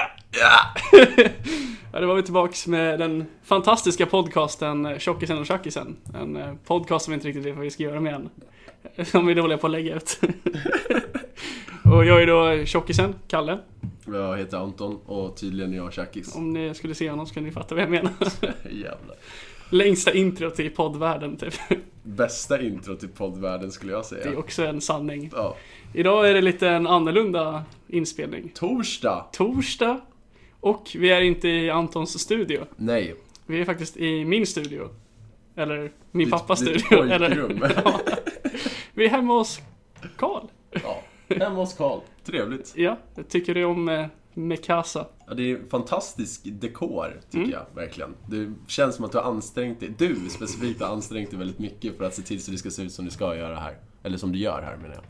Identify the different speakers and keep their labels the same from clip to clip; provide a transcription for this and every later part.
Speaker 1: Ja! ja, då var vi tillbaks med den fantastiska podcasten eh, Tjockisen och Tjackisen. En eh, podcast som vi inte riktigt vet vad vi ska göra med än. Som vi är dåliga på att lägga ut. och jag är då Tjockisen, Kalle.
Speaker 2: Jag heter Anton och tydligen är jag tjackis.
Speaker 1: Om ni skulle se honom så kunde ni fatta vad jag menar.
Speaker 2: Jävlar.
Speaker 1: Längsta introt i poddvärlden typ.
Speaker 2: Bästa intro till poddvärlden skulle jag
Speaker 1: Det är
Speaker 2: säga.
Speaker 1: också en sanning.
Speaker 2: Ja.
Speaker 1: Idag är det lite en annorlunda inspelning.
Speaker 2: Torsdag!
Speaker 1: Torsdag. Och vi är inte i Antons studio.
Speaker 2: Nej.
Speaker 1: Vi är faktiskt i min studio. Eller min
Speaker 2: Ditt-
Speaker 1: pappas
Speaker 2: ditt
Speaker 1: studio.
Speaker 2: pojkrum.
Speaker 1: Eller, ja. Vi är hemma hos Karl.
Speaker 2: Ja. Hemma hos Karl. Trevligt.
Speaker 1: Ja, jag tycker du om eh, Mekasa?
Speaker 2: Ja, det är fantastisk dekor, tycker
Speaker 1: Mm.
Speaker 2: jag verkligen. Det känns som att du har ansträngt dig, du specifikt har ansträngt dig väldigt mycket för att se till så det ska se ut som det ska göra här. Eller som du gör här menar jag.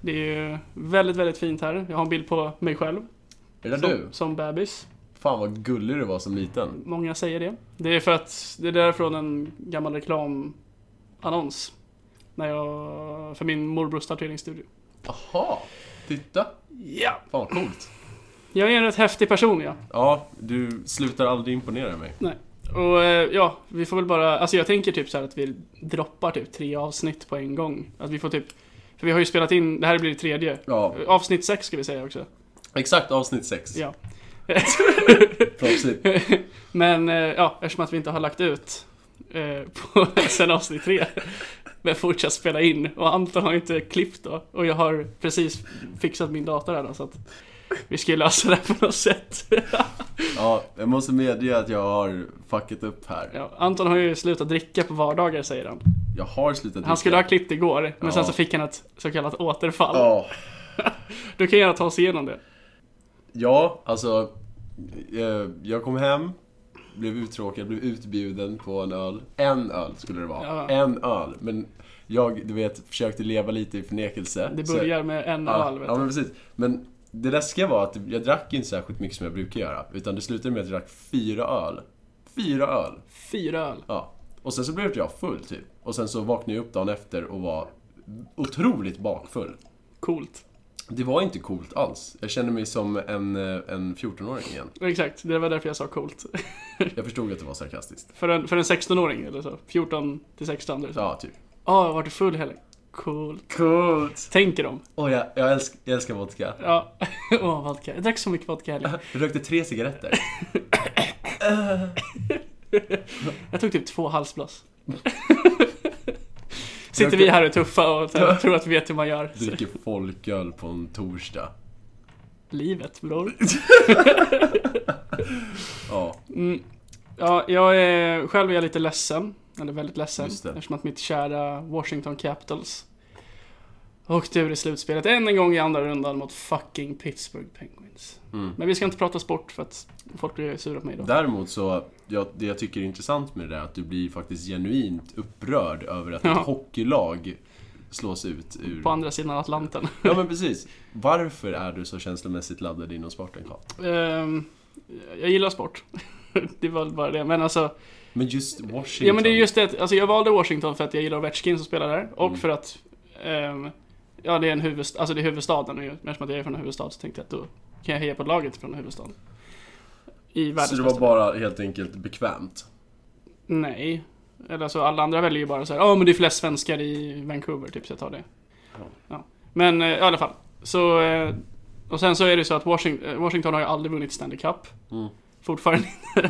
Speaker 1: Det är ju väldigt, väldigt fint här. Jag har en bild på mig själv.
Speaker 2: Är det
Speaker 1: som,
Speaker 2: du?
Speaker 1: Som bebis.
Speaker 2: Fan vad gullig du var som liten.
Speaker 1: Många säger det. Det är för att det är därifrån en gammal reklamannons. När jag, för min morbrors tatueringsstudio.
Speaker 2: Aha! Titta!
Speaker 1: Ja!
Speaker 2: Fan vad coolt.
Speaker 1: Jag är en rätt häftig person, ja.
Speaker 2: Ja, du slutar aldrig imponera mig.
Speaker 1: Nej. Och eh, ja, vi får väl bara, alltså jag tänker typ så här att vi droppar typ tre avsnitt på en gång. Att vi får typ, för vi har ju spelat in, det här blir det tredje.
Speaker 2: Ja,
Speaker 1: Avsnitt sex ska vi säga också.
Speaker 2: exakt avsnitt 6.
Speaker 1: Ja.
Speaker 2: Proffsigt.
Speaker 1: Men eh, ja, eftersom att vi inte har lagt ut eh, på, sen avsnitt tre. Men fortsatt spela in. Och Anton har ju inte klippt då. Och jag har precis fixat min dator här då, så att vi ska ju lösa det här på något sätt.
Speaker 2: Ja, jag måste medge att jag har fuckat upp här.
Speaker 1: Ja, Anton har ju slutat dricka på vardagar säger han.
Speaker 2: Jag har slutat
Speaker 1: Han skulle ha klippt igår, men
Speaker 2: Ja.
Speaker 1: sen så fick han ett så kallat återfall.
Speaker 2: Ja,
Speaker 1: Du kan gärna ta oss igenom det.
Speaker 2: ja alltså. eh, Jag kom hem, blev uttråkad, blev utbjuden på en öl. En öl skulle det vara.
Speaker 1: Ja.
Speaker 2: En öl. Men jag, du vet, försökte leva lite i förnekelse.
Speaker 1: Det
Speaker 2: Så-
Speaker 1: börjar med en
Speaker 2: Ja,
Speaker 1: öl. Vet
Speaker 2: ja,
Speaker 1: du.
Speaker 2: men precis. Men det läskiga var att jag drack inte särskilt mycket som jag brukar göra. Utan det slutade med att jag drack fyra öl. Fyra öl!
Speaker 1: Fyra öl.
Speaker 2: Ja. Och sen så blev jag full typ. Och sen så vaknade jag upp dagen efter och var otroligt bakfull.
Speaker 1: Coolt.
Speaker 2: Det var inte coolt alls. Jag kände mig som en, eh, en 14-åring igen.
Speaker 1: Exakt, det var därför jag sa coolt.
Speaker 2: Jag förstod att det var sarkastiskt.
Speaker 1: För en, för en 16-åring eller så. 14 till 16 eller så. Ja,
Speaker 2: Ja, typ.
Speaker 1: ah, jag vart full heller. Coolt.
Speaker 2: Coolt!
Speaker 1: Tänker de.
Speaker 2: Och jag, jag, älsk, jag älskar vodka.
Speaker 1: Ja. Åh, vodka. Jag drack så mycket vodka heller.
Speaker 2: Jag rökte tre cigaretter.
Speaker 1: Jag tog typ två halsblås. Sitter vi här och är tuffa och t- tror att vi vet hur man gör.
Speaker 2: Dricker folköl på en torsdag.
Speaker 1: Livet, bror.
Speaker 2: Ja,
Speaker 1: Ja, jag är, själv är jag lite ledsen. Eller väldigt ledsen.
Speaker 2: Just det.
Speaker 1: Eftersom att mitt kära Washington Capitals åkte ur i slutspelet än en gång i andra rundan mot fucking Pittsburgh Penguins.
Speaker 2: Mm.
Speaker 1: Men vi ska inte prata sport för att folk blir sura på mig då.
Speaker 2: Däremot så, jag, det jag tycker är intressant med det där är att du blir faktiskt genuint upprörd över att
Speaker 1: Ja.
Speaker 2: ett hockeylag slås ut ur...
Speaker 1: På andra sidan Atlanten.
Speaker 2: Ja men precis. Varför är du så känslomässigt laddad inom sporten Karl?
Speaker 1: Ehm, jag gillar sport. det var väl bara det. Men alltså,
Speaker 2: Men just Washington.
Speaker 1: ja men det är just det att, alltså jag valde Washington för att jag gillar Ovechkin som spelar där. Och
Speaker 2: Mm.
Speaker 1: för att, ehm, ja det är en huvudstad, alltså det är huvudstaden. Och eftersom att jag är från en huvudstad så tänkte jag att då kan jag heja på laget från huvudstaden. I världens
Speaker 2: Så det
Speaker 1: bästa-
Speaker 2: var bara helt enkelt bekvämt?
Speaker 1: Nej. Eller alltså alla andra väljer ju bara så här, ja men det är flest svenskar i Vancouver, typ så jag tar det.
Speaker 2: Ja.
Speaker 1: Ja. Men eh, i alla fall. Så, eh, och sen så är det så att Washington, eh, Washington har ju aldrig vunnit Stanley Cup.
Speaker 2: Mm.
Speaker 1: Fortfarande inte.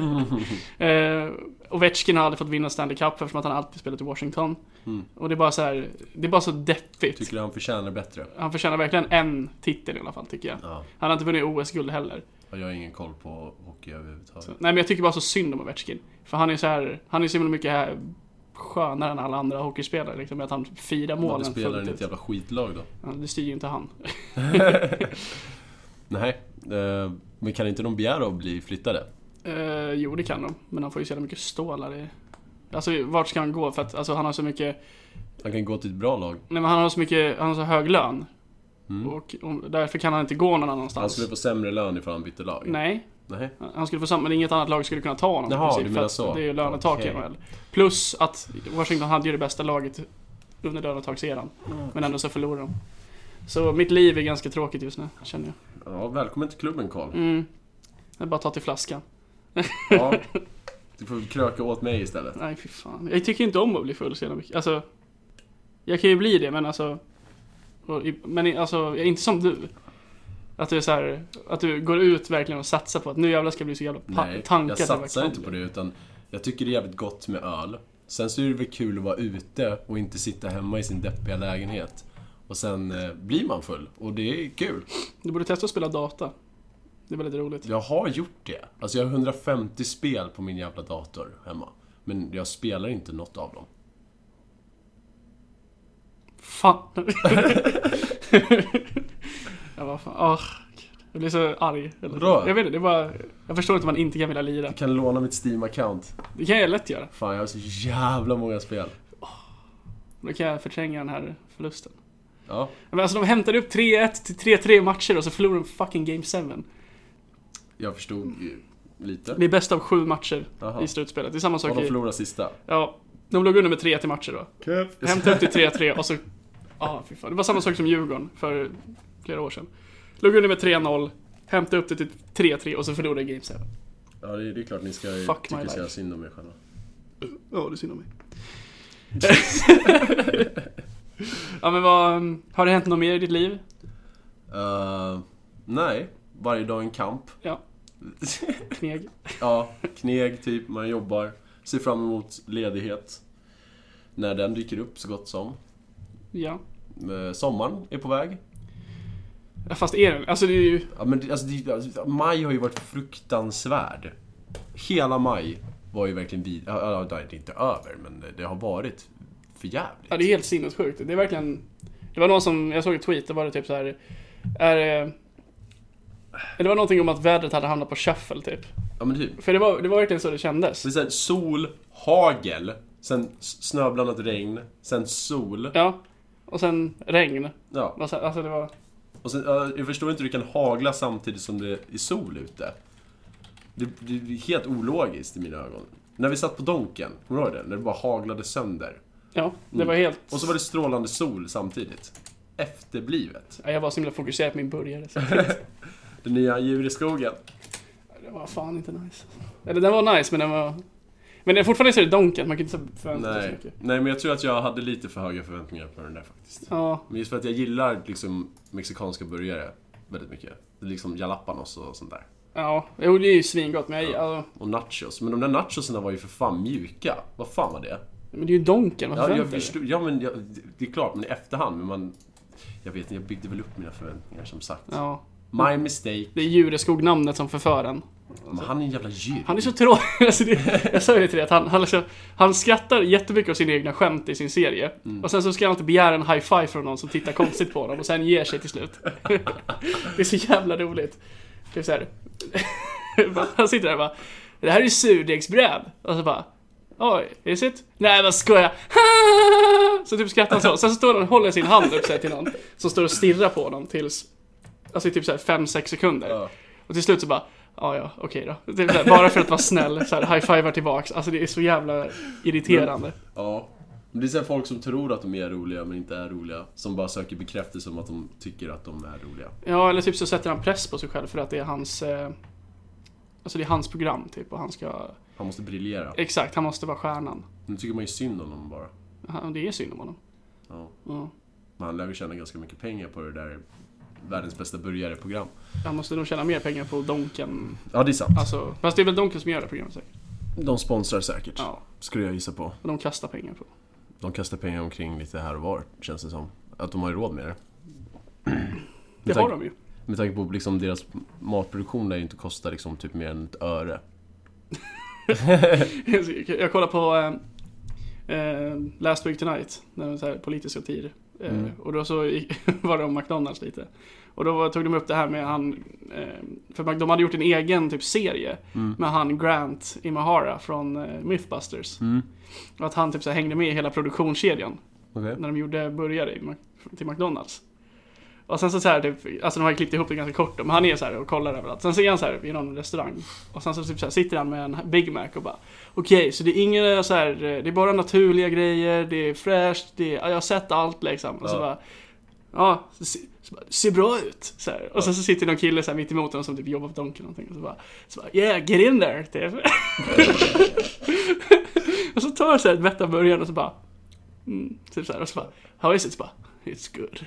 Speaker 1: eh, Ovechkin har aldrig fått vinna Stanley Cup eftersom att han alltid spelat i Washington.
Speaker 2: Mm.
Speaker 1: Och det är bara så här, det är bara så deppigt.
Speaker 2: Tycker du han förtjänar bättre?
Speaker 1: Han förtjänar verkligen en titel i alla fall, tycker jag.
Speaker 2: Ja,
Speaker 1: Han har inte vunnit OS-guld heller.
Speaker 2: och jag har ingen koll på hockey överhuvudtaget.
Speaker 1: Så, nej men jag tycker bara så synd om Ovechkin. För han är så här, han är så himla mycket här skönare än alla andra hockeyspelare liksom, med att han firar
Speaker 2: Varför
Speaker 1: målen
Speaker 2: spelar han i
Speaker 1: fullt
Speaker 2: ett
Speaker 1: ut.
Speaker 2: jävla skitlag då?
Speaker 1: Ja, det styr ju inte han.
Speaker 2: Nej, eh, men kan inte de begära att bli flyttade?
Speaker 1: Eh, jo, det kan de, men han får ju så jävla mycket stålar i... Alltså vart ska han gå? För att alltså, han har så mycket,
Speaker 2: Han kan gå till ett bra lag.
Speaker 1: nej men han har så mycket, han har så hög lön.
Speaker 2: Mm.
Speaker 1: Och, och därför kan han inte gå någon annanstans.
Speaker 2: Han skulle få sämre lön ifall han bytte lag.
Speaker 1: Nej,
Speaker 2: Nej.
Speaker 1: Han skulle få samma, men inget annat lag skulle kunna ta honom i
Speaker 2: Jaha,
Speaker 1: princip,
Speaker 2: du
Speaker 1: för
Speaker 2: menar
Speaker 1: att
Speaker 2: så.
Speaker 1: Det är ju lönetak i
Speaker 2: Okej.
Speaker 1: NHL. Plus att Washington hade ju det bästa laget under lönetakseran.
Speaker 2: Mm.
Speaker 1: Men ändå så förlorade de. Så mitt liv är ganska tråkigt just nu, känner jag.
Speaker 2: Ja, välkommen till klubben Karl.
Speaker 1: Mm. Det är bara att ta till flaskan.
Speaker 2: Ja. Du får kröka åt mig istället.
Speaker 1: Nej, fy fan. Jag tycker inte om att bli full så jävla mycket. Alltså, jag kan ju bli det, men alltså... Och, i- men i- alltså, jag är inte som du. Att du är så här, att du går ut verkligen och satsar på att nu jävlar ska jag bli så jävla pa-
Speaker 2: Nej,
Speaker 1: tankad.
Speaker 2: jag satsar inte på det utan jag tycker det är jävligt gott med öl. Sen så är det väl kul att vara ute och inte sitta hemma i sin deppiga lägenhet. Och sen eh, blir man full och det är kul.
Speaker 1: Du borde testa att spela data. Det är väldigt roligt.
Speaker 2: Jag har gjort det. Alltså jag har 150 spel på min jävla dator hemma. Men jag spelar inte något av dem.
Speaker 1: Fan. jag bara, fan. ah, gud. jag blir så arg. Eller,
Speaker 2: Bra.
Speaker 1: jag vet inte, det är bara... Jag förstår inte hur man inte kan vilja lira.
Speaker 2: Jag kan låna mitt Steam-account.
Speaker 1: Det kan jag lätt göra.
Speaker 2: Fan, jag har så jävla många spel.
Speaker 1: Då kan jag förtränga den här förlusten.
Speaker 2: Ja,
Speaker 1: Men alltså de hämtade upp 3-1 till 3-3 matcher och så förlorade de fucking Game 7.
Speaker 2: jag förstod ju lite.
Speaker 1: Det är bäst av sju matcher
Speaker 2: Jaha.
Speaker 1: i slutspelet. Det är samma
Speaker 2: Och
Speaker 1: sak
Speaker 2: de
Speaker 1: i...
Speaker 2: förlorade sista.
Speaker 1: Ja, de låg under med 3-1 i matcher då. Hämtade upp till 3-3 och så... Ja, ah, fy fan. Det var samma sak som Djurgården för flera år sedan. Låg under med 3-0, hämtade upp det till 3-3 och så förlorade Game 7.
Speaker 2: Ja, det är, det är klart ni ska ju
Speaker 1: Fuck my
Speaker 2: tycka så
Speaker 1: life.
Speaker 2: jävla synd om er själva.
Speaker 1: Ja, det är synd om mig. ja men vad... um, Har det hänt något mer i ditt liv?
Speaker 2: Eh, nej, varje dag en kamp.
Speaker 1: Ja. Kneg?
Speaker 2: Ja, kneg typ, man jobbar. Ser fram emot ledighet. När den dyker upp så gott som.
Speaker 1: Ja.
Speaker 2: Eh, Sommaren är på väg.
Speaker 1: Fast är det... Alltså det är ju...
Speaker 2: Ja, men det- alltså, det, alltså, maj har ju varit fruktansvärd. Hela maj var ju verkligen vid... Ja, ja, det är inte över, men det har varit för jävligt.
Speaker 1: Ja, det är helt sinnessjukt. Det är verkligen... Det var någon som, jag såg ett tweet, det var det typ så här... Är det... Det var någonting om att vädret hade hamnat på shuffle typ.
Speaker 2: Ja, men typ.
Speaker 1: För det var, det var verkligen så det kändes.
Speaker 2: Det är så här, sol, hagel, sen s- snöblandat regn, sen sol.
Speaker 1: Ja. Och sen regn.
Speaker 2: Ja.
Speaker 1: Alltså alltså det var...
Speaker 2: Och sen, ja, jag förstår inte hur det kan hagla samtidigt som det är sol ute. Det, det är helt ologiskt i mina ögon. När vi satt på Donken, kommer du ihåg det? När det bara haglade sönder.
Speaker 1: Ja, det var helt...
Speaker 2: Mm. Och så var det strålande sol samtidigt. Efterblivet.
Speaker 1: Ja, Jag var så himla fokuserad på min burgare. Så
Speaker 2: Det nya djur i skogen.
Speaker 1: det var fan inte nice. Eller den var nice, men den var... Men det är fortfarande så är det donken, man kan inte så förvänta sig så
Speaker 2: Nej.
Speaker 1: mycket.
Speaker 2: Nej, men jag tror att jag hade lite för höga förväntningar på den där faktiskt.
Speaker 1: Ja,
Speaker 2: Men just för att jag gillar liksom mexikanska burgare väldigt mycket. Det är liksom jalapanos och sånt där.
Speaker 1: ja. Jo, det är ju svingott, men jag, alltså,
Speaker 2: Och nachos. Men de där nachoserna var ju för fan mjuka. Vad fan var det?
Speaker 1: Men det är ju donken, vad
Speaker 2: Ja,
Speaker 1: förväntar
Speaker 2: jag
Speaker 1: du dig?
Speaker 2: förstod, ja men jag, det är klart, men i efterhand. Men man, jag vet inte, jag byggde väl upp mina förväntningar som sagt.
Speaker 1: Ja.
Speaker 2: My mistake.
Speaker 1: Det är Jureskog-namnet som förför en.
Speaker 2: Men han är en jävla djur.
Speaker 1: Han är så tråkig. Alltså det, jag sa ju det till dig, att han, han, liksom, han skrattar jättemycket åt sina egna skämt i sin serie. Och sen så ska han alltid begära en high five från någon som tittar konstigt på honom och sen ger sig till slut. det är så jävla roligt. Det är så här. han sitter där och bara Det här är ju surdegsbröd. Och så bara Oj, is it? Nej vad skojar Så typ skrattar han så. Sen så står han och håller sin hand upp så här till någon som står och stirrar på honom tills Alltså i typ såhär 5-6 sekunder.
Speaker 2: Ja.
Speaker 1: Och till slut så bara, ja ja, okej då. Det är så här, bara för att vara snäll, så här, high-fivar tillbaks. Alltså det är så jävla irriterande.
Speaker 2: Ja. Men det är sen folk som tror att de är roliga men inte är roliga. Som bara söker bekräftelse om att de tycker att de är roliga.
Speaker 1: Ja, eller typ så sätter han press på sig själv för att det är hans... Eh, alltså det är hans program typ och han ska...
Speaker 2: Han måste briljera.
Speaker 1: Exakt, han måste vara stjärnan.
Speaker 2: Nu tycker man ju synd om dem bara.
Speaker 1: Han, det är synd om honom.
Speaker 2: Ja.
Speaker 1: Ja.
Speaker 2: Men han lär ju tjäna ganska mycket pengar på det där världens bästa burgare-program.
Speaker 1: Han måste nog tjäna mer pengar på Donken.
Speaker 2: Ja, det är sant.
Speaker 1: Alltså, fast det är väl Donken som gör det här programmet säkert.
Speaker 2: De sponsrar säkert.
Speaker 1: Ja,
Speaker 2: Skulle jag gissa på.
Speaker 1: och de kastar pengar på.
Speaker 2: De kastar pengar omkring lite här och var, känns det som. Att de har ju råd med det.
Speaker 1: Det
Speaker 2: Med
Speaker 1: har
Speaker 2: tanke-
Speaker 1: de ju.
Speaker 2: Med tanke på liksom deras matproduktion lär ju inte kosta liksom typ mer än ett öre.
Speaker 1: Jag kollar på eh, eh, Last Week Tonight, när det var så här politisk satir. Eh,
Speaker 2: Mm.
Speaker 1: Och då så gick- var det om McDonalds lite. Och då var- tog de upp det här med han, eh, för Mac- de hade gjort en egen typ serie med han Grant Imahara från eh, Mythbusters.
Speaker 2: Mm.
Speaker 1: Och att han typ så här hängde med i hela produktionskedjan
Speaker 2: Okej.
Speaker 1: när de gjorde burgare i Mac- till McDonalds. Och sen så, så här, typ, alltså de har ju klippt ihop det ganska kort då, men han är så här och kollar överallt. Sen så är han så här i någon restaurang och sen så, typ så här, sitter han med en Big Mac och bara Okej, så det är inga så här, eh, det är bara naturliga grejer, det är fräscht, det är, ja, jag har sett allt liksom. Och så
Speaker 2: Ja.
Speaker 1: bara Ja, s- Så bara, ser bra ut! Så här. Och sen så sitter någon kille så här mitt emot honom som typ jobbar på Donken eller någonting. Och så bara, så bara yeah, get in there! Typ. och så tar jag så här ett mätt av början och så bara, mm, typ så här. Och så bara, how is it? Så bara, it's good.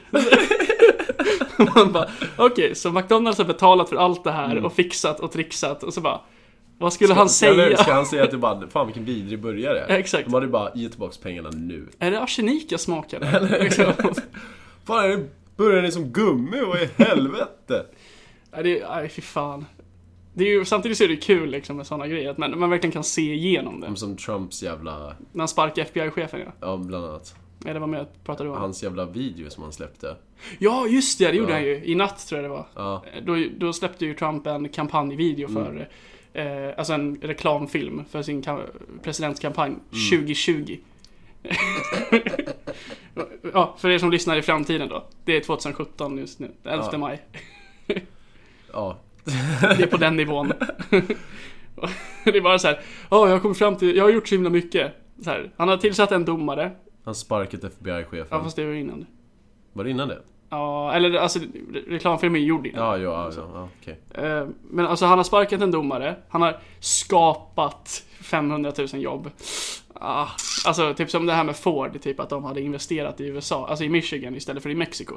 Speaker 1: Man bara, okej, så McDonalds har betalat för allt det här och fixat och trixat och så bara, vad skulle han
Speaker 2: Eller
Speaker 1: säga?
Speaker 2: Mm.
Speaker 1: Eh.
Speaker 2: ska han säga att du bara, fan vilken vidrig börjare.
Speaker 1: Exakt.
Speaker 2: De hade ju bara, ge tillbaks pengarna nu.
Speaker 1: Är det arsenik jag smakade? Liksom.
Speaker 2: Fan, är det- börjar ni som gummi? Vad i helvete?
Speaker 1: Nej, det, nej, fy fan. Det är ju, samtidigt så är det ju kul liksom, med sådana grejer, att man, man verkligen kan se igenom det.
Speaker 2: De Som Trumps jävla,
Speaker 1: När han sparkade FBI-chefen ja.
Speaker 2: ja bland annat,
Speaker 1: Eller vad mer jag pratade om?
Speaker 2: hans jävla video som han släppte.
Speaker 1: Ja, just det! Det gjorde
Speaker 2: Ja.
Speaker 1: han ju. I natt tror jag det var.
Speaker 2: Ja,
Speaker 1: Eh, Då, då släppte ju Trump en kampanjvideo för, eh, alltså en reklamfilm för sin kam- presidentskampanj 2020. ja, för er som lyssnar i framtiden då. Det är 2017 just nu, den 11
Speaker 2: Ja.
Speaker 1: maj.
Speaker 2: ja.
Speaker 1: Det är på den nivån. Och det är bara så här, ja, jag har kommit fram till, jag har gjort så himla mycket. Så här, han har tillsatt en domare,
Speaker 2: Han sparkat FBI-chefen.
Speaker 1: ja fast det var innan.
Speaker 2: Var det innan det?
Speaker 1: Ja, eller alltså re- reklamfilmen är gjord innan.
Speaker 2: Ja, ja, ja, ja, ja okej.
Speaker 1: Eh, Men alltså han har sparkat en domare, han har skapat 500 000 jobb. Ah, alltså typ som det här med Ford, typ att de hade investerat i USA, alltså i Michigan istället för i Mexiko.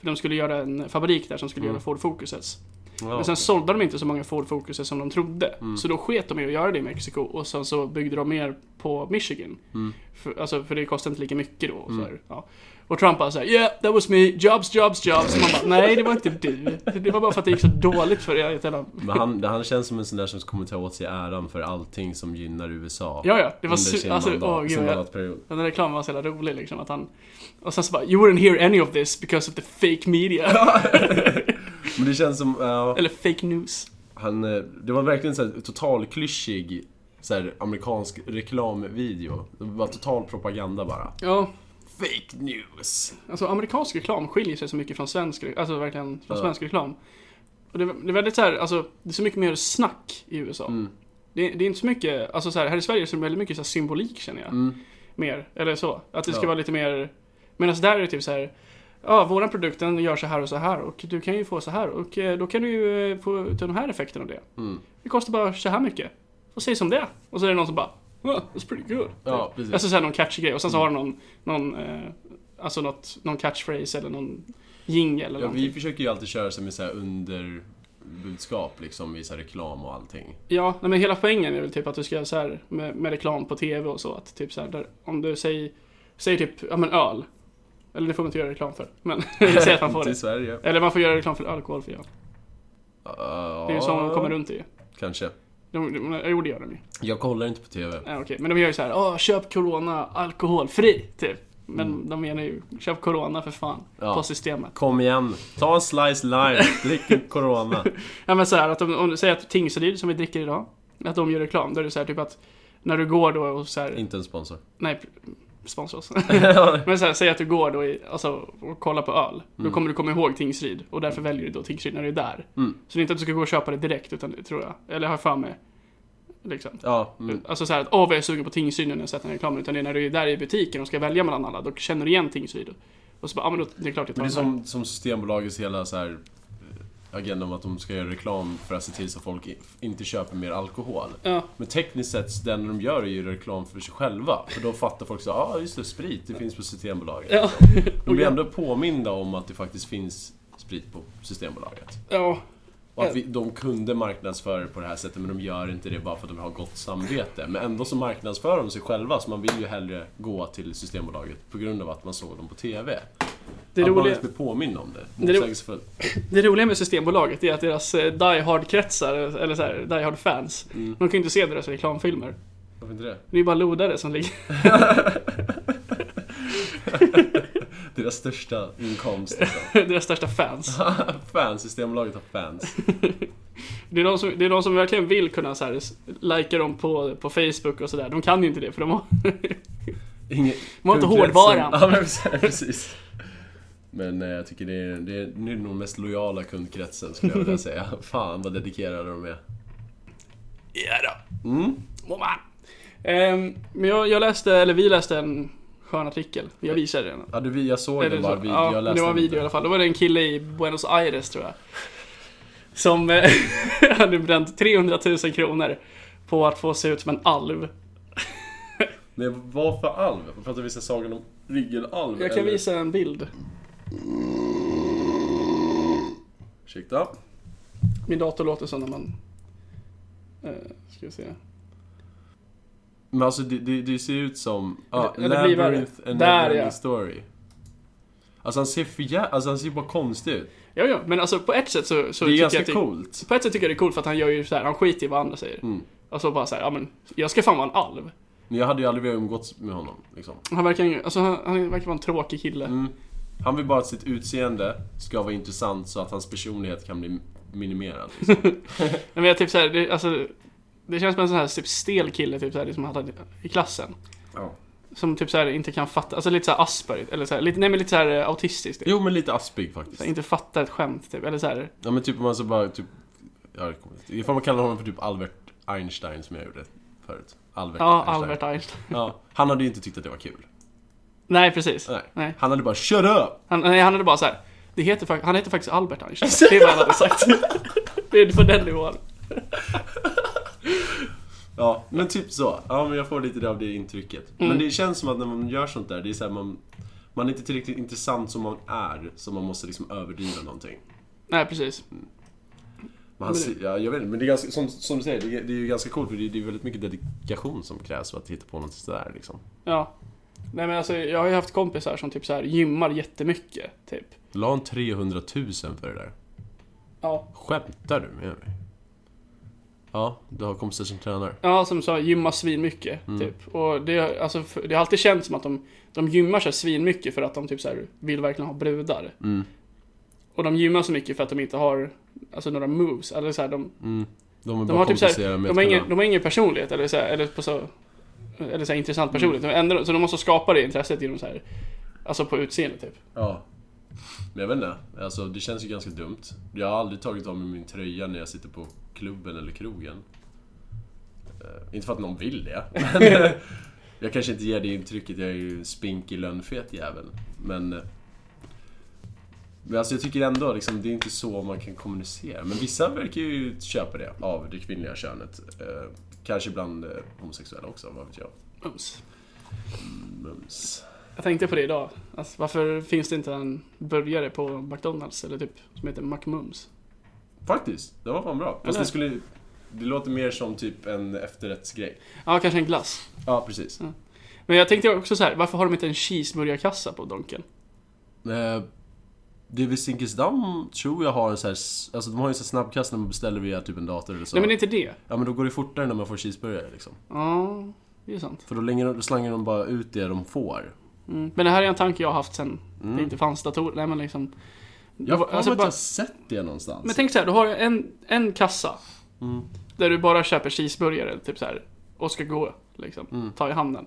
Speaker 1: För de skulle göra en fabrik där som skulle göra Ford Focusets.
Speaker 2: Ja. Mm.
Speaker 1: Men sen sålde de inte så många Ford Focuses som de trodde. Så då sket de i att göra det i Mexiko och sen så byggde de mer på Michigan.
Speaker 2: Mm.
Speaker 1: För, alltså, för det kostade inte lika mycket då. och Så här, ja. Och Trump bara såhär yeah, that was me, jobs, jobs, jobs. Man bara nej, det var inte du. Det var bara för att det gick så dåligt för er. Jävla...
Speaker 2: Men han, han känns som en sån där som kommer ta åt sig äran för allting som gynnar USA.
Speaker 1: Ja, ja, det var
Speaker 2: under
Speaker 1: su-
Speaker 2: sin,
Speaker 1: alltså,
Speaker 2: mandat,
Speaker 1: åh, gud,
Speaker 2: sin
Speaker 1: jag-
Speaker 2: mandatperiod.
Speaker 1: Den där reklamen var så jävla rolig liksom att han... Och sen så bara you weren't here any of this because of the fake media.
Speaker 2: Men det känns som, ja,
Speaker 1: Eller fake news.
Speaker 2: han, eh, det var verkligen så här totalklyschig så här, amerikansk reklamvideo. Det var total propaganda bara.
Speaker 1: Ja,
Speaker 2: Fake news!
Speaker 1: Alltså amerikansk reklam skiljer sig så mycket från svensk, re- alltså verkligen från svensk reklam. Och det, det är väldigt så här, alltså det är så mycket mer snack i USA.
Speaker 2: Mm.
Speaker 1: Det, det är inte så mycket, alltså så här, här i Sverige så är det väldigt mycket så här symbolik känner jag. Mer, eller så. Att det ska
Speaker 2: Mm. Ja.
Speaker 1: vara lite mer, medan där är det typ så här, ja våran produkt den gör så här och så här och du kan ju få så här och eh, då kan du ju eh, få ut den här effekten av det.
Speaker 2: mm.
Speaker 1: Det kostar bara så här mycket. Och säg som det är. Och så är det någon som bara, oh, that's pretty good.
Speaker 2: Ja, precis.
Speaker 1: Alltså såhär någon catchy grej och sen så har de någon, någon eh, alltså något, någon catchphrase eller någon jingle eller
Speaker 2: Ja,
Speaker 1: någonting.
Speaker 2: vi försöker ju alltid köra sig med så här underbudskap liksom i så här reklam och allting.
Speaker 1: Ja, nej, men hela poängen är väl typ att du ska göra så här med, med reklam på TV och så att typ så här, där, om du säger, säger typ, ja men öl. Eller det får man inte göra reklam för, men säg att man får
Speaker 2: Inte i
Speaker 1: det.
Speaker 2: Sverige.
Speaker 1: Eller man får göra reklam för alkohol för ja.
Speaker 2: Ja,
Speaker 1: Det är ju så de kommer runt i.
Speaker 2: Kanske.
Speaker 1: De, de, jo, det gör de ju.
Speaker 2: Jag kollar inte på TV.
Speaker 1: Ja, okej. Men de gör ju så här, "Åh, köp corona alkoholfri, typ. Men de menar ju, köp corona för fan,
Speaker 2: Mm. Ja.
Speaker 1: på systemet.
Speaker 2: Kom igen, ta en slice lime, drick en corona.
Speaker 1: Ja men så här, att om, om du säger att Tingsryd som vi dricker idag, att de gör reklam, då är det så här typ att när du går då och så här,
Speaker 2: inte en sponsor.
Speaker 1: nej, sponsra oss. men så här, säg att du går då i, alltså, och kollar på öl, då kommer du komma ihåg Tingsryd och därför väljer du då Tingsryd när du är där.
Speaker 2: Mm.
Speaker 1: Så det är inte att du ska gå och köpa det direkt, utan det tror jag, eller har jag för mig. Liksom.
Speaker 2: Ja, mm.
Speaker 1: Alltså så här att, åh vad jag är sugen på Tingsryd nu när jag sett den här reklamen, utan det är när du är där i butiken och ska välja mellan alla, då känner du igen Tingsryd. Och så bara, ja men då, det är klart jag tar
Speaker 2: Men det är
Speaker 1: den här.
Speaker 2: som, som Systembolagets hela så här eh, agenda om att de ska göra reklam för att se till så att folk i- inte köper mer alkohol.
Speaker 1: Ja,
Speaker 2: Men tekniskt sett, den de gör är ju reklam för sig själva. För då fattar folk så ja ah, just det, sprit, det finns på Systembolaget.
Speaker 1: ja.
Speaker 2: De blir ändå påminda om att det faktiskt finns sprit på Systembolaget.
Speaker 1: ja.
Speaker 2: Och att vi, de kunde marknadsföra det på det här sättet men de gör inte det bara för att de har gott samvete. Men ändå så marknadsför de sig själva så man vill ju hellre gå till Systembolaget på grund av att man såg dem på TV.
Speaker 1: Det
Speaker 2: att man
Speaker 1: roliga-
Speaker 2: ens blir påmind om det.
Speaker 1: Det är ro-
Speaker 2: Motsägelsefullt.
Speaker 1: Det roliga med Systembolaget är att deras eh, Die Hard-kretsar, eller så här, Die Hard-fans, de kan ju inte se deras reklamfilmer.
Speaker 2: Mm. Varför inte det?
Speaker 1: Det är ju bara lodare som ligger...
Speaker 2: Deras största inkomst.
Speaker 1: deras största fans.
Speaker 2: fans, Systembolaget har fans.
Speaker 1: Det är de som, det är de som verkligen vill kunna så här, s- likea dem på, på Facebook och sådär. De kan ju inte det för de har...
Speaker 2: Ingen,
Speaker 1: De har inte
Speaker 2: kundkretsen-
Speaker 1: hårdvaran.
Speaker 2: Ja, men precis- precis. Men eh, jag tycker det är, det är, det är nog den mest lojala kundkretsen skulle jag vilja säga. Fan vad dedikerade de är.
Speaker 1: Ja då. Mm. Må man. Ehm, men jag, jag läste, eller vi läste en skön artikel. Jag visade den.
Speaker 2: Ja, du, vi- jag såg
Speaker 1: Eller
Speaker 2: den bara
Speaker 1: så-
Speaker 2: video,
Speaker 1: ja,
Speaker 2: jag
Speaker 1: det
Speaker 2: läste
Speaker 1: var en
Speaker 2: den
Speaker 1: video i
Speaker 2: inte.
Speaker 1: alla fall. Då var det en kille i Buenos Aires tror jag. Som eh, hade bränt 300 000 kronor på att få se ut som en alv.
Speaker 2: Men vad för alv? Pratar vi så sagan om ryggelalv?
Speaker 1: Jag kan
Speaker 2: eller-
Speaker 1: visa en bild.
Speaker 2: Ursäkta.
Speaker 1: Min dator låter så när man... Eh, ska vi se.
Speaker 2: Men alltså det, det, det ser ut som... Ja,
Speaker 1: det blir
Speaker 2: Labyrinth
Speaker 1: värre.
Speaker 2: and
Speaker 1: Där,
Speaker 2: Neverending
Speaker 1: ja.
Speaker 2: Story. Alltså han ser för jä... Alltså han ser bara konstig ut.
Speaker 1: Ja, ja, men alltså på ett sätt så, så tycker
Speaker 2: det är
Speaker 1: jag
Speaker 2: ganska
Speaker 1: att det,
Speaker 2: coolt.
Speaker 1: På ett sätt tycker jag det är coolt för att han gör ju så här, han skiter i vad andra säger.
Speaker 2: Mm.
Speaker 1: Alltså bara så här, ja men, jag ska fan vara en alv.
Speaker 2: Men jag hade ju aldrig velat umgås med honom. Liksom.
Speaker 1: Han verkar ju, alltså han, han verkar vara en tråkig kille.
Speaker 2: Mm. Han vill bara att sitt utseende ska vara intressant så att hans personlighet kan bli minimerad. Liksom.
Speaker 1: Men jag typ så här, det, alltså, det känns som en sån här typ stel kille typ så här, liksom han hade i klassen.
Speaker 2: ja.
Speaker 1: Som typ så här inte kan fatta, alltså lite så här Asperger, eller så här, lite, nej men lite så här eh, autistisk typ.
Speaker 2: Jo men lite aspig
Speaker 1: Så
Speaker 2: faktiskt.
Speaker 1: här, inte fattar ett skämt typ, eller så här.
Speaker 2: Ja men typ om man så bara typ... Ja, det kommer inte. Ifall man kallar honom för typ Albert Einstein som jag gjorde förut. Albert
Speaker 1: Ja,
Speaker 2: Einstein.
Speaker 1: Albert Einstein.
Speaker 2: Ja, han hade ju inte tyckt att det var kul.
Speaker 1: Nej, precis.
Speaker 2: Nej.
Speaker 1: Nej.
Speaker 2: Han hade bara 'Shut up!'
Speaker 1: Han, nej, han hade bara så här, det heter, fak- han heter faktiskt Albert Einstein. Det är vad han hade sagt. det är på den nivån.
Speaker 2: Ja, men typ så. Ja, men jag får lite av det intrycket.
Speaker 1: Mm.
Speaker 2: Men det känns som att när man gör sånt där, det är så här, man, man är inte tillräckligt intressant som man är, så man måste liksom överdriva någonting.
Speaker 1: Nej, precis.
Speaker 2: Men han, ser- ja, jag vet inte, men det är ganska, som, som du säger, det är, det är ju ganska coolt för det är, det är väldigt mycket dedikation som krävs för att hitta på något sådär liksom.
Speaker 1: Ja. Nej men alltså jag har ju haft kompisar som typ så här gymmar jättemycket, typ.
Speaker 2: La han 300 000 för det där?
Speaker 1: Ja.
Speaker 2: Skämtar du med mig? Ja, du har kompisar som tränar.
Speaker 1: Ja, som sa gymma svinmycket, typ. Och det, alltså, för- det har alltid känts som att de, de gymmar så här svinmycket för att de typ så här vill verkligen ha brudar.
Speaker 2: Mm.
Speaker 1: Och de gymmar så mycket för att de inte har, alltså några moves, eller så här, de,
Speaker 2: Mm. De är
Speaker 1: de
Speaker 2: bara
Speaker 1: har typ så
Speaker 2: kompenserade
Speaker 1: här,
Speaker 2: med
Speaker 1: de,
Speaker 2: att
Speaker 1: har
Speaker 2: kunna-
Speaker 1: ingen, de har ingen personlighet eller så här, eller på så, eller så här,
Speaker 2: Mm.
Speaker 1: intressant personlighet. De ändrar, så de måste skapa det intresset genom så här, alltså på utseende typ.
Speaker 2: Ja. Men jag vet inte. Alltså, det känns ju ganska dumt. Jag har aldrig tagit av mig min tröja när jag sitter på klubben eller krogen. Eh, inte för att någon vill det. Men eh, jag kanske inte ger det intrycket. Jag är ju en spinkig, lönnfet jävel. Men... eh, Men alltså jag tycker ändå liksom, det är inte så man kan kommunicera. Men vissa verkar ju köpa det av det kvinnliga könet. Eh, kanske bland eh, homosexuella också, vad vet jag. Mm,
Speaker 1: Mums.
Speaker 2: Mums.
Speaker 1: Jag tänkte på det idag. Alltså, varför finns det inte en burgare på McDonalds eller typ som heter McMums?
Speaker 2: Faktiskt, det var fan bra. Fast
Speaker 1: Eller?
Speaker 2: det skulle... Det låter mer som typ en efterrättsgrej.
Speaker 1: Ja, kanske en glass.
Speaker 2: Ja, precis.
Speaker 1: Men jag tänkte också så här, varför har de inte en cheeseburgarkassa på Donken?
Speaker 2: Eh, det vid Zinkensdamm tror jag har en sån här... s- Alltså de har ju en sån här snabbkast när man beställer via typ en dator eller så.
Speaker 1: Nej, men det är inte det.
Speaker 2: Ja men då går det fortare när man får cheeseburgare liksom.
Speaker 1: Ja, det är sant.
Speaker 2: För då, länger, de- då slangar de bara ut det de får.
Speaker 1: Mm. Men det här är en tanke jag har haft sen det
Speaker 2: Mm.
Speaker 1: inte fanns datorer. Nej, men liksom.
Speaker 2: Jag har
Speaker 1: Alltså,
Speaker 2: alltså,
Speaker 1: bara-
Speaker 2: bara... sett det någonstans.
Speaker 1: Men tänk så här, du har en, en kassa
Speaker 2: Mm.
Speaker 1: där du bara köper cheeseburgare typ så här och ska gå liksom,
Speaker 2: Mm.
Speaker 1: ta i handen.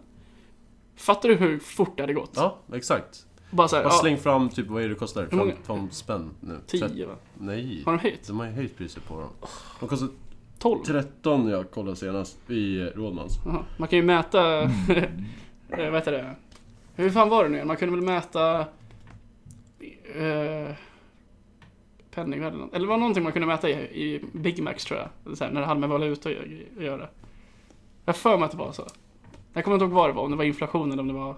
Speaker 1: Fattar du hur fort det hade gått?
Speaker 2: Ja, exakt.
Speaker 1: Bara så här,
Speaker 2: Bara
Speaker 1: ja,
Speaker 2: släng fram typ, vad är det kostar?
Speaker 1: Hur många-
Speaker 2: Fem, fem spänn nu? Trett-
Speaker 1: 10 va?
Speaker 2: Nej.
Speaker 1: Har de höjt?
Speaker 2: De har ju höjt priset på dem. De kostar
Speaker 1: 12?
Speaker 2: 13 jag kollade senast i eh, Rådmans.
Speaker 1: Jaha, Man kan ju mäta... eh, vad heter det? Hur fan var det nu igen? Man kunde väl mäta... Eh, penningvärde eller något. Eller var det någonting man kunde mäta i, i Big Macs tror jag. Eller så här, när det hade med valuta att gö- att göra. Jag har för mig att det var så. Jag kommer inte ihåg vad det var, om det var inflation eller om det var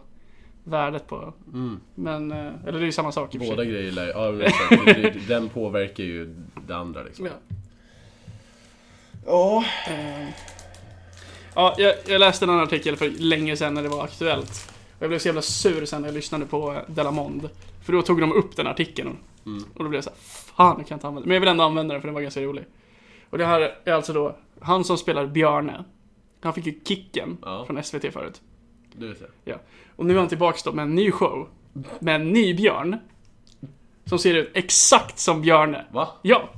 Speaker 1: värdet på...
Speaker 2: Mm.
Speaker 1: Men, eh, eller det är ju samma sak i och för
Speaker 2: Båda
Speaker 1: sig.
Speaker 2: grejer lär ja, men exakt. Det- det- Den påverkar ju det andra liksom.
Speaker 1: Ja. Eh, Ja, jag, jag läste en annan artikel för länge sedan när det var aktuellt. Och jag blev så jävla sur sen när jag lyssnade på eh, Delamond. För då tog de upp den artikeln.
Speaker 2: Mm.
Speaker 1: Och då blev jag så här, fan jag kan inte använda den. Men jag vill ändå använda den för den var ganska rolig. Och det här är alltså då, han som spelar Bjarne. Han fick ju kicken
Speaker 2: Ja.
Speaker 1: från SVT förut.
Speaker 2: Du vet det.
Speaker 1: Och nu är han tillbaks då med en ny show. Med en ny Björn. Som ser ut exakt som Bjarne.
Speaker 2: Va?
Speaker 1: Ja,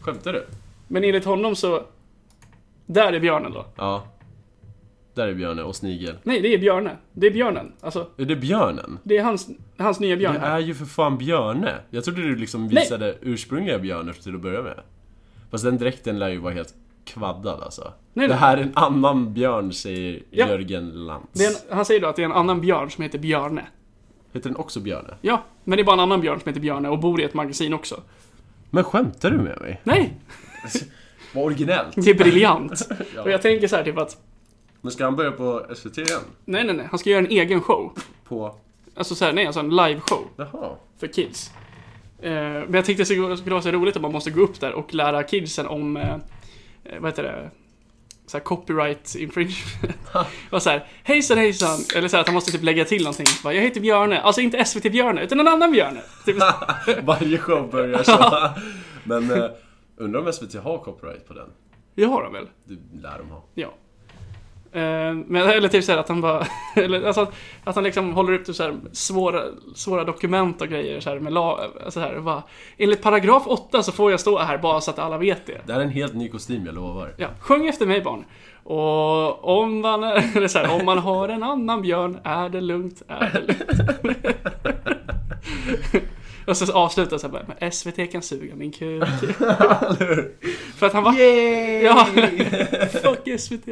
Speaker 2: Skämtar du?
Speaker 1: men enligt honom så... Där är björnen då.
Speaker 2: Ja. Där är björnen och snigel.
Speaker 1: Nej, det är björne. Det är björnen. Alltså,
Speaker 2: Är det björnen?
Speaker 1: Det är hans, hans nya björn
Speaker 2: Det
Speaker 1: här.
Speaker 2: är ju för fan björne. Jag trodde du liksom
Speaker 1: Nej.
Speaker 2: visade ursprungliga björnen till att börja med. Fast den dräkten lär ju vara helt kvaddad alltså.
Speaker 1: Nej,
Speaker 2: det
Speaker 1: nej.
Speaker 2: här är en annan björn, säger
Speaker 1: Ja.
Speaker 2: Jörgen Lantz.
Speaker 1: Det är en, han säger då att det är en annan björn som heter Björne.
Speaker 2: Heter den också Björne?
Speaker 1: Ja, men det är bara en annan björn som heter Björne och bor i ett magasin också.
Speaker 2: Men skämtar du med mig?
Speaker 1: Nej!
Speaker 2: Vad originellt!
Speaker 1: Det är briljant!
Speaker 2: Ja.
Speaker 1: Och jag tänker så här typ att,
Speaker 2: Men ska han börja på SVT igen?
Speaker 1: nej nej nej, han ska göra en egen show.
Speaker 2: På...
Speaker 1: Alltså så här, nej alltså en live-show
Speaker 2: Jaha.
Speaker 1: för kids. Eh, men jag tänkte att det skulle vara så roligt att man måste gå upp där och lära kidsen om, eh, eh, vad heter det, så här copyright infringement. och så här, hejsan hejsan! Eller så här att han måste typ lägga till någonting. Bara, jag heter Björne, alltså inte SVT Björne, utan en annan Björne. Typ,
Speaker 2: Varje show börjar så. Men eh, undrar om SVT har copyright på den?
Speaker 1: jag har dem väl?
Speaker 2: Det lär de ha.
Speaker 1: Ja. Eh, Men, eller typ såhär att han bara, eller alltså att, att han liksom håller upp typ såhär svåra, svåra dokument och grejer såhär med la, alltså så här, och bara, Enligt paragraf 8 så får jag stå här bara så att alla vet det.
Speaker 2: Det här är en helt ny kostym, jag lovar.
Speaker 1: Ja, sjung efter mig barn. Och om man, är- eller så här, om man har en annan björn, är det lugnt, är det lugnt. och så avslutar så här bara, men SVT kan suga min kuk. För att han var...
Speaker 2: Yay!
Speaker 1: Ja, fuck SVT.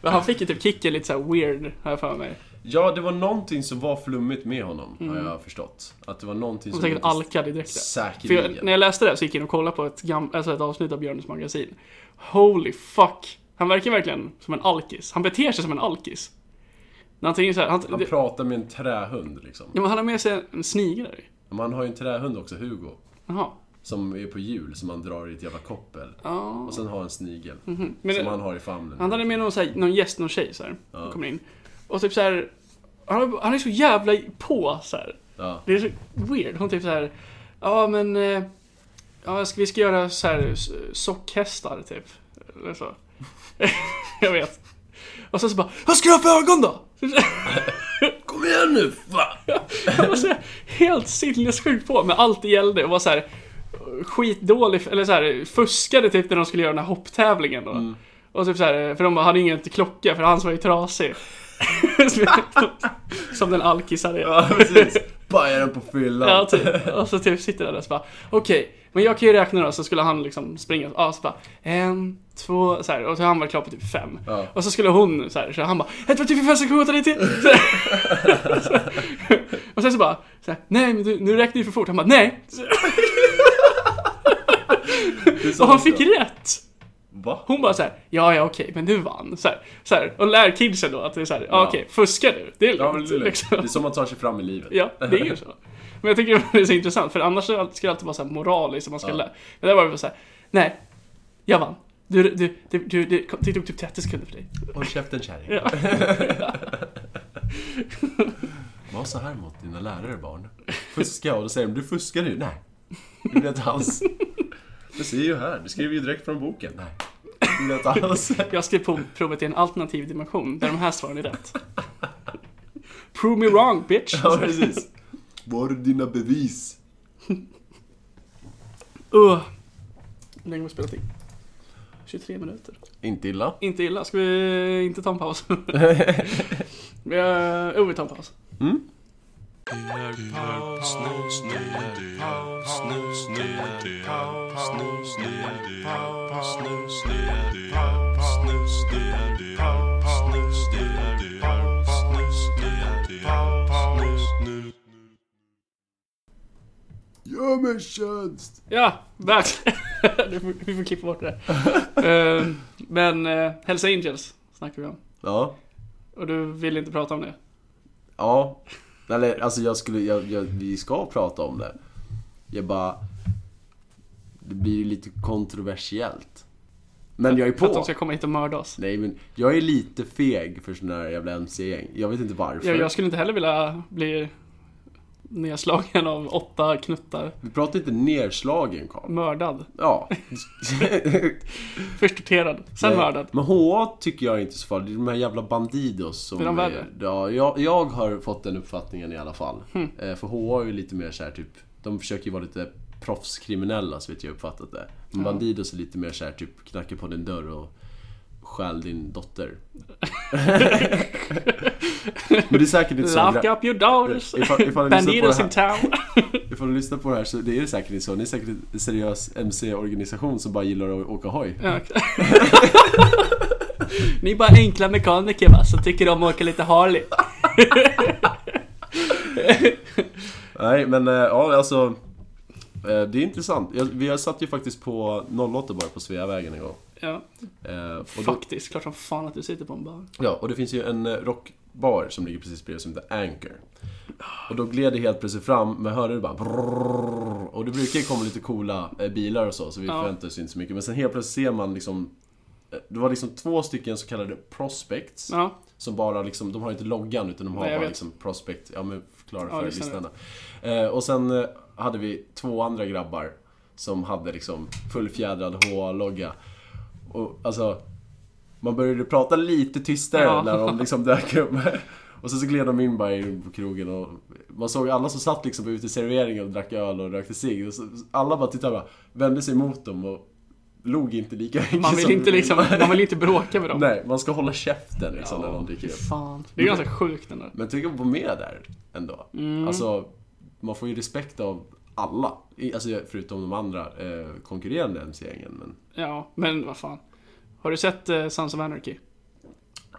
Speaker 1: Men han fick ju typ kicken lite såhär weird, har jag för mig.
Speaker 2: Ja, det var någonting som var flummigt med honom,
Speaker 1: Mm.
Speaker 2: har jag förstått. Att det var någonting
Speaker 1: Och
Speaker 2: som...
Speaker 1: säkert alkad i dräkten. För
Speaker 2: Säkerligen.
Speaker 1: jag, när jag läste det här så gick jag in och kollade på ett, gam- alltså ett avsnitt av Björnes magasin. Holy fuck! Han verkar verkligen som en alkis. Han beter sig som en alkis. När han tänker såhär, han,
Speaker 2: Han
Speaker 1: det,
Speaker 2: pratar med en trähund liksom.
Speaker 1: ja, men han har med sig en snigel.
Speaker 2: Men han har ju en trähund också, Hugo.
Speaker 1: Jaha.
Speaker 2: Som är på hjul, som han drar i ett jävla koppel.
Speaker 1: Ja.
Speaker 2: Och sen har en snigel.
Speaker 1: Mm. Men
Speaker 2: Som
Speaker 1: det-
Speaker 2: han har i famnen.
Speaker 1: Han hade med någon, så här, någon gäst, någon tjej så här, som kommer in. Och typ så här, han, han är så jävla på så här.
Speaker 2: Ja.
Speaker 1: Det är så weird. Hon typ så här. Ja men. eh, Ja, ska, vi ska göra så här s- sockhästar typ. Eller så. jag vet. Och sen så bara. Vad ska du ha för ögon då?
Speaker 2: Kom igen nu! Fan!
Speaker 1: Han var så här, helt sinnessjuk på med allt det gällde och var så här eh, skitdålig, eller så här fuskade typ när de skulle göra den här hopptävlingen då. Och typ så här, för de hade ingen klocka för hans var ju trasig. Som den alkisare är.
Speaker 2: Ja, precis. Bajar den på fyllan.
Speaker 1: Ja, typ. Och så typ sitter han där och så bara, okej, men jag kan ju räkna då, så skulle han liksom springa, ja, så bara, en, två, så här, och så han var klar på typ fem.
Speaker 2: Ja.
Speaker 1: Och så skulle hon så här, så han bara, ett, två, tre, fyra, fem, sex, sju, åtta, nio, tio. Så här. Så- Och sen så bara, så här, nej, men du, nu räknar du för fort. Han bara, nej. Så-
Speaker 2: Det är så
Speaker 1: Och han
Speaker 2: också.
Speaker 1: fick rätt.
Speaker 2: Va?
Speaker 1: Hon bara så här, ja, ja, okej, men du vann. Så här, så här, och lär kidsen då att det är så här, ja.
Speaker 2: Ja.
Speaker 1: okej, fuskar du? Det är lugnt.
Speaker 2: Ja, men det, är lugnt.
Speaker 1: liksom.
Speaker 2: det är som man tar sig fram i livet.
Speaker 1: Ja, det är ju så. Men jag tycker det är så intressant, för annars ska det alltid vara så här moraliskt som man ska
Speaker 2: Ja.
Speaker 1: lära. Men där var det så här, nej, jag vann. Du, du, du, du, det- det tog typ 30 sekunder för dig.
Speaker 2: Håll käften kärring.
Speaker 1: Ja.
Speaker 2: Var så här mot dina lärare barn. Fuska och då säger de du fuskar nu. Nej. Det blir inte alls. Det ser ju här. Du skriver ju direkt från boken. Nej. Det blir inte alls.
Speaker 1: Jag skrev på provet i en alternativ dimension, där de här svaren är rätt. Prove me wrong, bitch!
Speaker 2: Ja, precis. Var är dina bevis?
Speaker 1: Uh. Hur länge har vi spelat in? 23 minuter.
Speaker 2: Inte illa.
Speaker 1: Inte illa, ska vi inte ta en paus? Jo, uh, vi tar en paus.
Speaker 2: Gör mig tjänst.
Speaker 1: Ja, värt. Du får- vi får klippa bort det där. Eh, Men uh, Hells Angels snackar vi om.
Speaker 2: Ja.
Speaker 1: Och du vill inte prata om det?
Speaker 2: Ja. Eller alltså jag skulle, jag, jag, vi ska prata om det. Jag bara... Det blir ju lite kontroversiellt. Men jag är
Speaker 1: För att de
Speaker 2: på.
Speaker 1: ska komma hit och mörda oss.
Speaker 2: Nej men jag är lite feg för såna här jävla MC-gäng. Jag vet inte varför.
Speaker 1: Jag, jag skulle inte heller vilja bli nedslagen av åtta knuttar.
Speaker 2: Vi pratar inte nerslagen Karl.
Speaker 1: Mördad.
Speaker 2: Ja.
Speaker 1: Först torterad, sen
Speaker 2: Nej.
Speaker 1: mördad.
Speaker 2: Men HA tycker jag är inte så farligt. Det är de här jävla Bandidos som...
Speaker 1: Är de värre?
Speaker 2: ja, jag, jag har fått den uppfattningen i alla fall.
Speaker 1: Hm.
Speaker 2: Eh, För HA är ju lite mer så här typ... De försöker ju vara lite proffskriminella så vet jag uppfattat det. Men Bandidos är lite mer så här typ knackar på din dörr och Stjäl din dotter. Men det är säkert inte så.
Speaker 1: Lock up your doors!
Speaker 2: Ifall, ifall, ni lyssnar på
Speaker 1: Bandidos
Speaker 2: det
Speaker 1: in
Speaker 2: här,
Speaker 1: town!
Speaker 2: ifall ni lyssnar på det här så det är det säkert inte så. Ni är säkert en seriös MC-organisation som bara gillar att åka hoj.
Speaker 1: Ja, exakt. Ni är bara enkla mekaniker va, som tycker om att åka lite Harley.
Speaker 2: Nej men eh, ja alltså. eh, Det är intressant. Jag, vi har satt ju faktiskt på 08 bara på Sveavägen igår.
Speaker 1: Ja,
Speaker 2: Eh, och då,
Speaker 1: faktiskt. Klart som fan att du sitter på en bar.
Speaker 2: ja, och det finns ju en eh, rockbar som ligger precis bredvid som heter Anchor. Och då gled det helt plötsligt fram, men hörde det bara brrrr, Och det brukar ju komma lite coola eh, bilar och så, så vi
Speaker 1: Ja.
Speaker 2: förväntar oss inte så mycket. Men sen helt plötsligt ser man liksom eh, det var liksom två stycken så kallade prospects
Speaker 1: Ja,
Speaker 2: Som bara liksom, de har inte loggan utan de har
Speaker 1: Nej, jag
Speaker 2: bara
Speaker 1: vet.
Speaker 2: liksom prospect, ja men förklara
Speaker 1: Ja,
Speaker 2: för
Speaker 1: lyssnarna.
Speaker 2: lyssnarna. Eh, och sen eh, hade vi två andra grabbar som hade liksom fullfjädrad HA-logga. Och alltså, man började prata lite tystare
Speaker 1: Ja.
Speaker 2: när de liksom dök upp. Och sen så gled de in bara in på krogen och man såg alla som satt liksom på uteserveringen och drack öl och rökte cigg. Och så- Alla bara tittade bara, vände sig mot dem och log inte lika mycket
Speaker 1: man vill
Speaker 2: som-
Speaker 1: inte liksom, man vill inte bråka med dem.
Speaker 2: Nej, man ska hålla käften liksom när de dyker
Speaker 1: fy
Speaker 2: upp.
Speaker 1: fan. Det är ganska sjukt den där.
Speaker 2: Men tänk att vara med där ändå. Alltså, man får ju respekt av alla. I- Alltså, förutom de andra eh, konkurrerande MC-gängen. Men,
Speaker 1: Ja, men vad fan. Har du sett eh, Sons of Anarchy?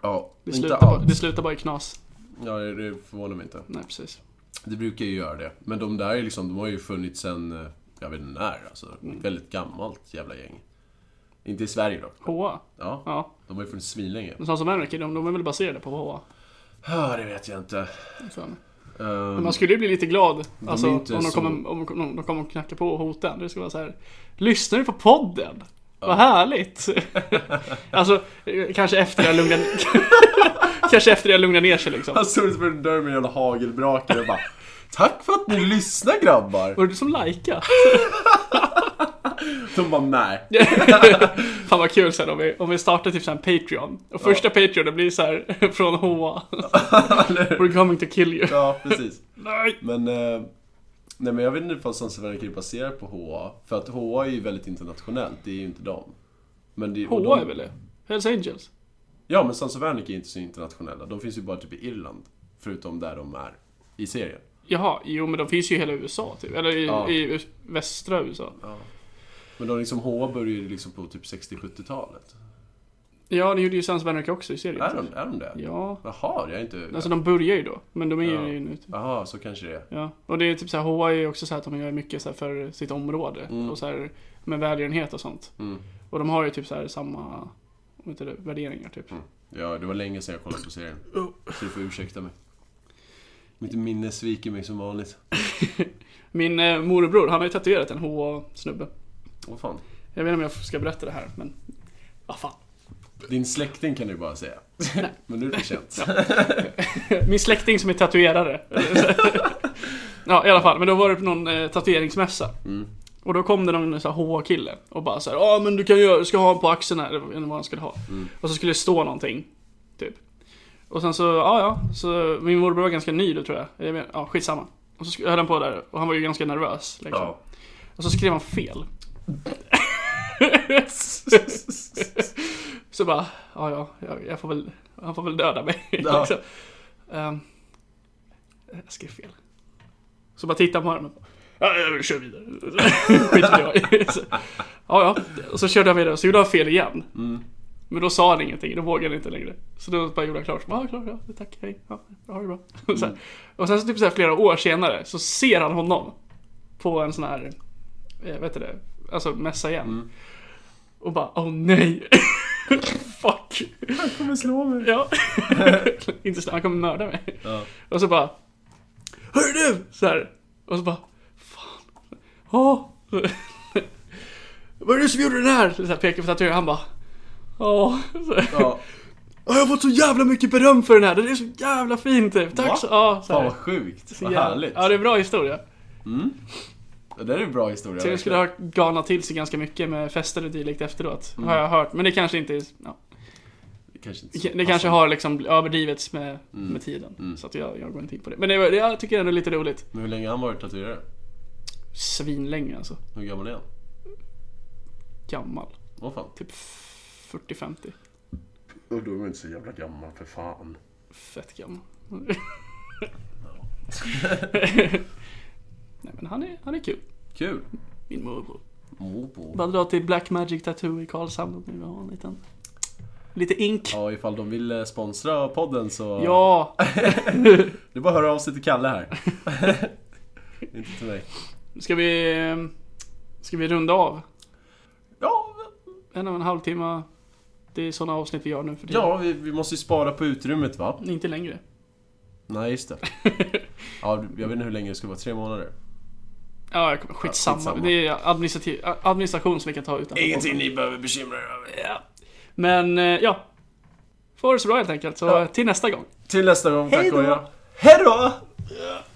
Speaker 2: ja,
Speaker 1: Det
Speaker 2: inte
Speaker 1: slutar, bara,
Speaker 2: allt.
Speaker 1: det slutar bara i knas.
Speaker 2: Ja, det det förvånar mig inte.
Speaker 1: Nej, precis.
Speaker 2: Det brukar ju göra det. Men de där är liksom, de har ju funnits sen, eh, jag vet inte när. Alltså, Väldigt gammalt jävla gäng. Inte i Sverige då.
Speaker 1: HA?
Speaker 2: Ja,
Speaker 1: Ja.
Speaker 2: de har ju funnits svinlänge.
Speaker 1: Men Sons of Anarchy, de, de är väl baserade på HA?
Speaker 2: Ah, det vet jag inte.
Speaker 1: För mig.
Speaker 2: Ehm,
Speaker 1: Men man skulle ju bli lite glad alltså,
Speaker 2: är
Speaker 1: om,
Speaker 2: inte
Speaker 1: de
Speaker 2: så-
Speaker 1: kommer, om, de- om de kommer och knackar på och hotar en. Det skulle vara så här. Lyssnar du på podden? Vad härligt! alltså, eh, kanske efter jag lugnar Kanske efter jag lugnar ner sig liksom.
Speaker 2: Han stod utanför en dörr med en jävla hagelbrake och bara Tack för att ni lyssnar grabbar!
Speaker 1: Var det du som likea?
Speaker 2: De bara nej.
Speaker 1: Fan vad kul sen om vi, om vi startar typ så här en Patreon. Och första Patreon det blir så här från HA. We're coming to kill you.
Speaker 2: Ja, precis.
Speaker 1: Nej!
Speaker 2: Men, eh, nej, men jag vet inte ifall Sons of Anarchy är baserat på HA. För att HA är ju väldigt internationellt, det är ju inte dem. Men det, och
Speaker 1: HA
Speaker 2: de,
Speaker 1: är väl det? Hells Angels?
Speaker 2: Ja, men Sons of Anarchy är inte så internationella. De finns ju bara typ i Irland. Förutom där de är i serien.
Speaker 1: Jaha, jo men de finns ju i hela USA typ. Eller i,
Speaker 2: Ja.
Speaker 1: i us- västra USA.
Speaker 2: Men de liksom, HA började ju liksom på typ 60-70-talet.
Speaker 1: Ja, det gjorde ju Sons of Anarchy också i serien.
Speaker 2: Är de, är de det?
Speaker 1: Ja.
Speaker 2: Jaha, jag är inte...
Speaker 1: Alltså de börjar ju då, men de är
Speaker 2: Ja.
Speaker 1: ju nu typ.
Speaker 2: Jaha, så kanske det är.
Speaker 1: Ja. Och det är typ så här, HA är ju också så här att de gör mycket så här för sitt område. Och så här med välgörenhet och sånt.
Speaker 2: Mm.
Speaker 1: Och de har ju typ så här samma, vad heter det, värderingar typ.
Speaker 2: Ja, det var länge sedan jag kollade på serien. Så du får ursäkta mig. Mitt minne sviker mig som vanligt.
Speaker 1: Min eh, morbror, han har ju tatuerat en HA-snubbe.
Speaker 2: Åh fan.
Speaker 1: Jag vet inte om jag ska berätta det här, men... Ah, fan.
Speaker 2: Din släkting kan du bara säga. Men nu är det för sent.
Speaker 1: Min släkting som är tatuerare. ja, i alla fall. Men då var det på någon eh, tatueringsmässa. Och då kom det någon så här HA-kille och bara så här, ja men du kan göra, du ska ha en på axeln här, eller vad han skulle ha. Och så skulle det stå någonting, typ. Och sen så, ja ja, så min morbror var ganska ny då tror jag. jag men, ja, skitsamma. Och så sk- höll han på där, och han var ju ganska nervös liksom.
Speaker 2: Ja.
Speaker 1: Och så skrev han fel. så bara, ja ja, jag, jag får väl, han får väl döda mig.
Speaker 2: Ja.
Speaker 1: liksom. Ehm, jag skrev fel. Så bara tittade han på armen. Ja, jag kör vidare. Skit i det. Så- Ja, ja. Och så körde han vidare och så gjorde han fel igen. Men då sa han ingenting, då vågade han inte längre. Så då bara gjorde han klart. Så bara, Ja, klart, ja, tack, hej, ja, ha det bra. Och, så här. och sen så typ så här flera år senare så ser han honom på en sån här, eh, vad heter det, alltså mässa igen.
Speaker 2: Mm.
Speaker 1: Och bara, åh oh, nej! Fuck!
Speaker 2: Han kommer slå mig.
Speaker 1: Ja. inte snabbt, han kommer mörda mig.
Speaker 2: Ja.
Speaker 1: Och så bara, hör du! Så här. Och så bara, fan, åh! Vad är det som gjorde den här? Så här pekar på tatueringen, han bara, åh! Så här.
Speaker 2: Ja.
Speaker 1: "Ja, Jag har fått så jävla mycket beröm för den här, den är så jävla fin typ.
Speaker 2: Va?
Speaker 1: Tack så, ja, så
Speaker 2: Fan
Speaker 1: här.
Speaker 2: vad sjukt.
Speaker 1: Så
Speaker 2: Vad
Speaker 1: jävla-
Speaker 2: härligt.
Speaker 1: Ja, det är en bra historia.
Speaker 2: Det där är en bra historia.
Speaker 1: Sen skulle ha galnat till sig ganska mycket med fester och dylikt efteråt.
Speaker 2: Mm.
Speaker 1: Har jag hört. Men det kanske inte är, ja.
Speaker 2: Det kanske inte är så
Speaker 1: Det kanske
Speaker 2: passande.
Speaker 1: har liksom överdrivits med, med tiden. Så att jag, jag går inte in på det. Men det, var- det jag tycker ändå är lite roligt.
Speaker 2: Men hur länge har han varit tatuerare?
Speaker 1: Svinlänge alltså.
Speaker 2: Hur gammal är han?
Speaker 1: Gammal.
Speaker 2: Åh fan.
Speaker 1: Typ 40-50.
Speaker 2: Och då är man inte så jävla gammal för fan.
Speaker 1: Fett gammal. Nej men han är, han är kul.
Speaker 2: Kul!
Speaker 1: Min morbror.
Speaker 2: Morbror.
Speaker 1: Bara dra till Black Magic Tattoo i Karlshamn om ni vill ha en liten... Lite ink.
Speaker 2: Ja, ifall de vill eh, sponsra podden så...
Speaker 1: Ja!
Speaker 2: Det är bara att höra av sig till Kalle här. inte till mig.
Speaker 1: Ska vi... eh, Ska vi runda av?
Speaker 2: Ja,
Speaker 1: En och en halv timme. Det är sådana avsnitt vi gör nu för tiden.
Speaker 2: ja vi, vi måste ju spara på utrymmet va?
Speaker 1: Inte längre.
Speaker 2: Nej, just det. Ja, jag vet inte hur länge det ska vara, tre månader?
Speaker 1: Ja, jag kommer- skitsamma.
Speaker 2: Ja, skitsamma.
Speaker 1: Det är administrativ, administration som vi kan ta utan.
Speaker 2: ni behöver bekymra er över.
Speaker 1: Ja. Men eh, ja. Får det så bra helt enkelt. Så
Speaker 2: Ja.
Speaker 1: till nästa gång.
Speaker 2: Till nästa gång, tack
Speaker 1: Hej då.
Speaker 2: och hej. Hej då!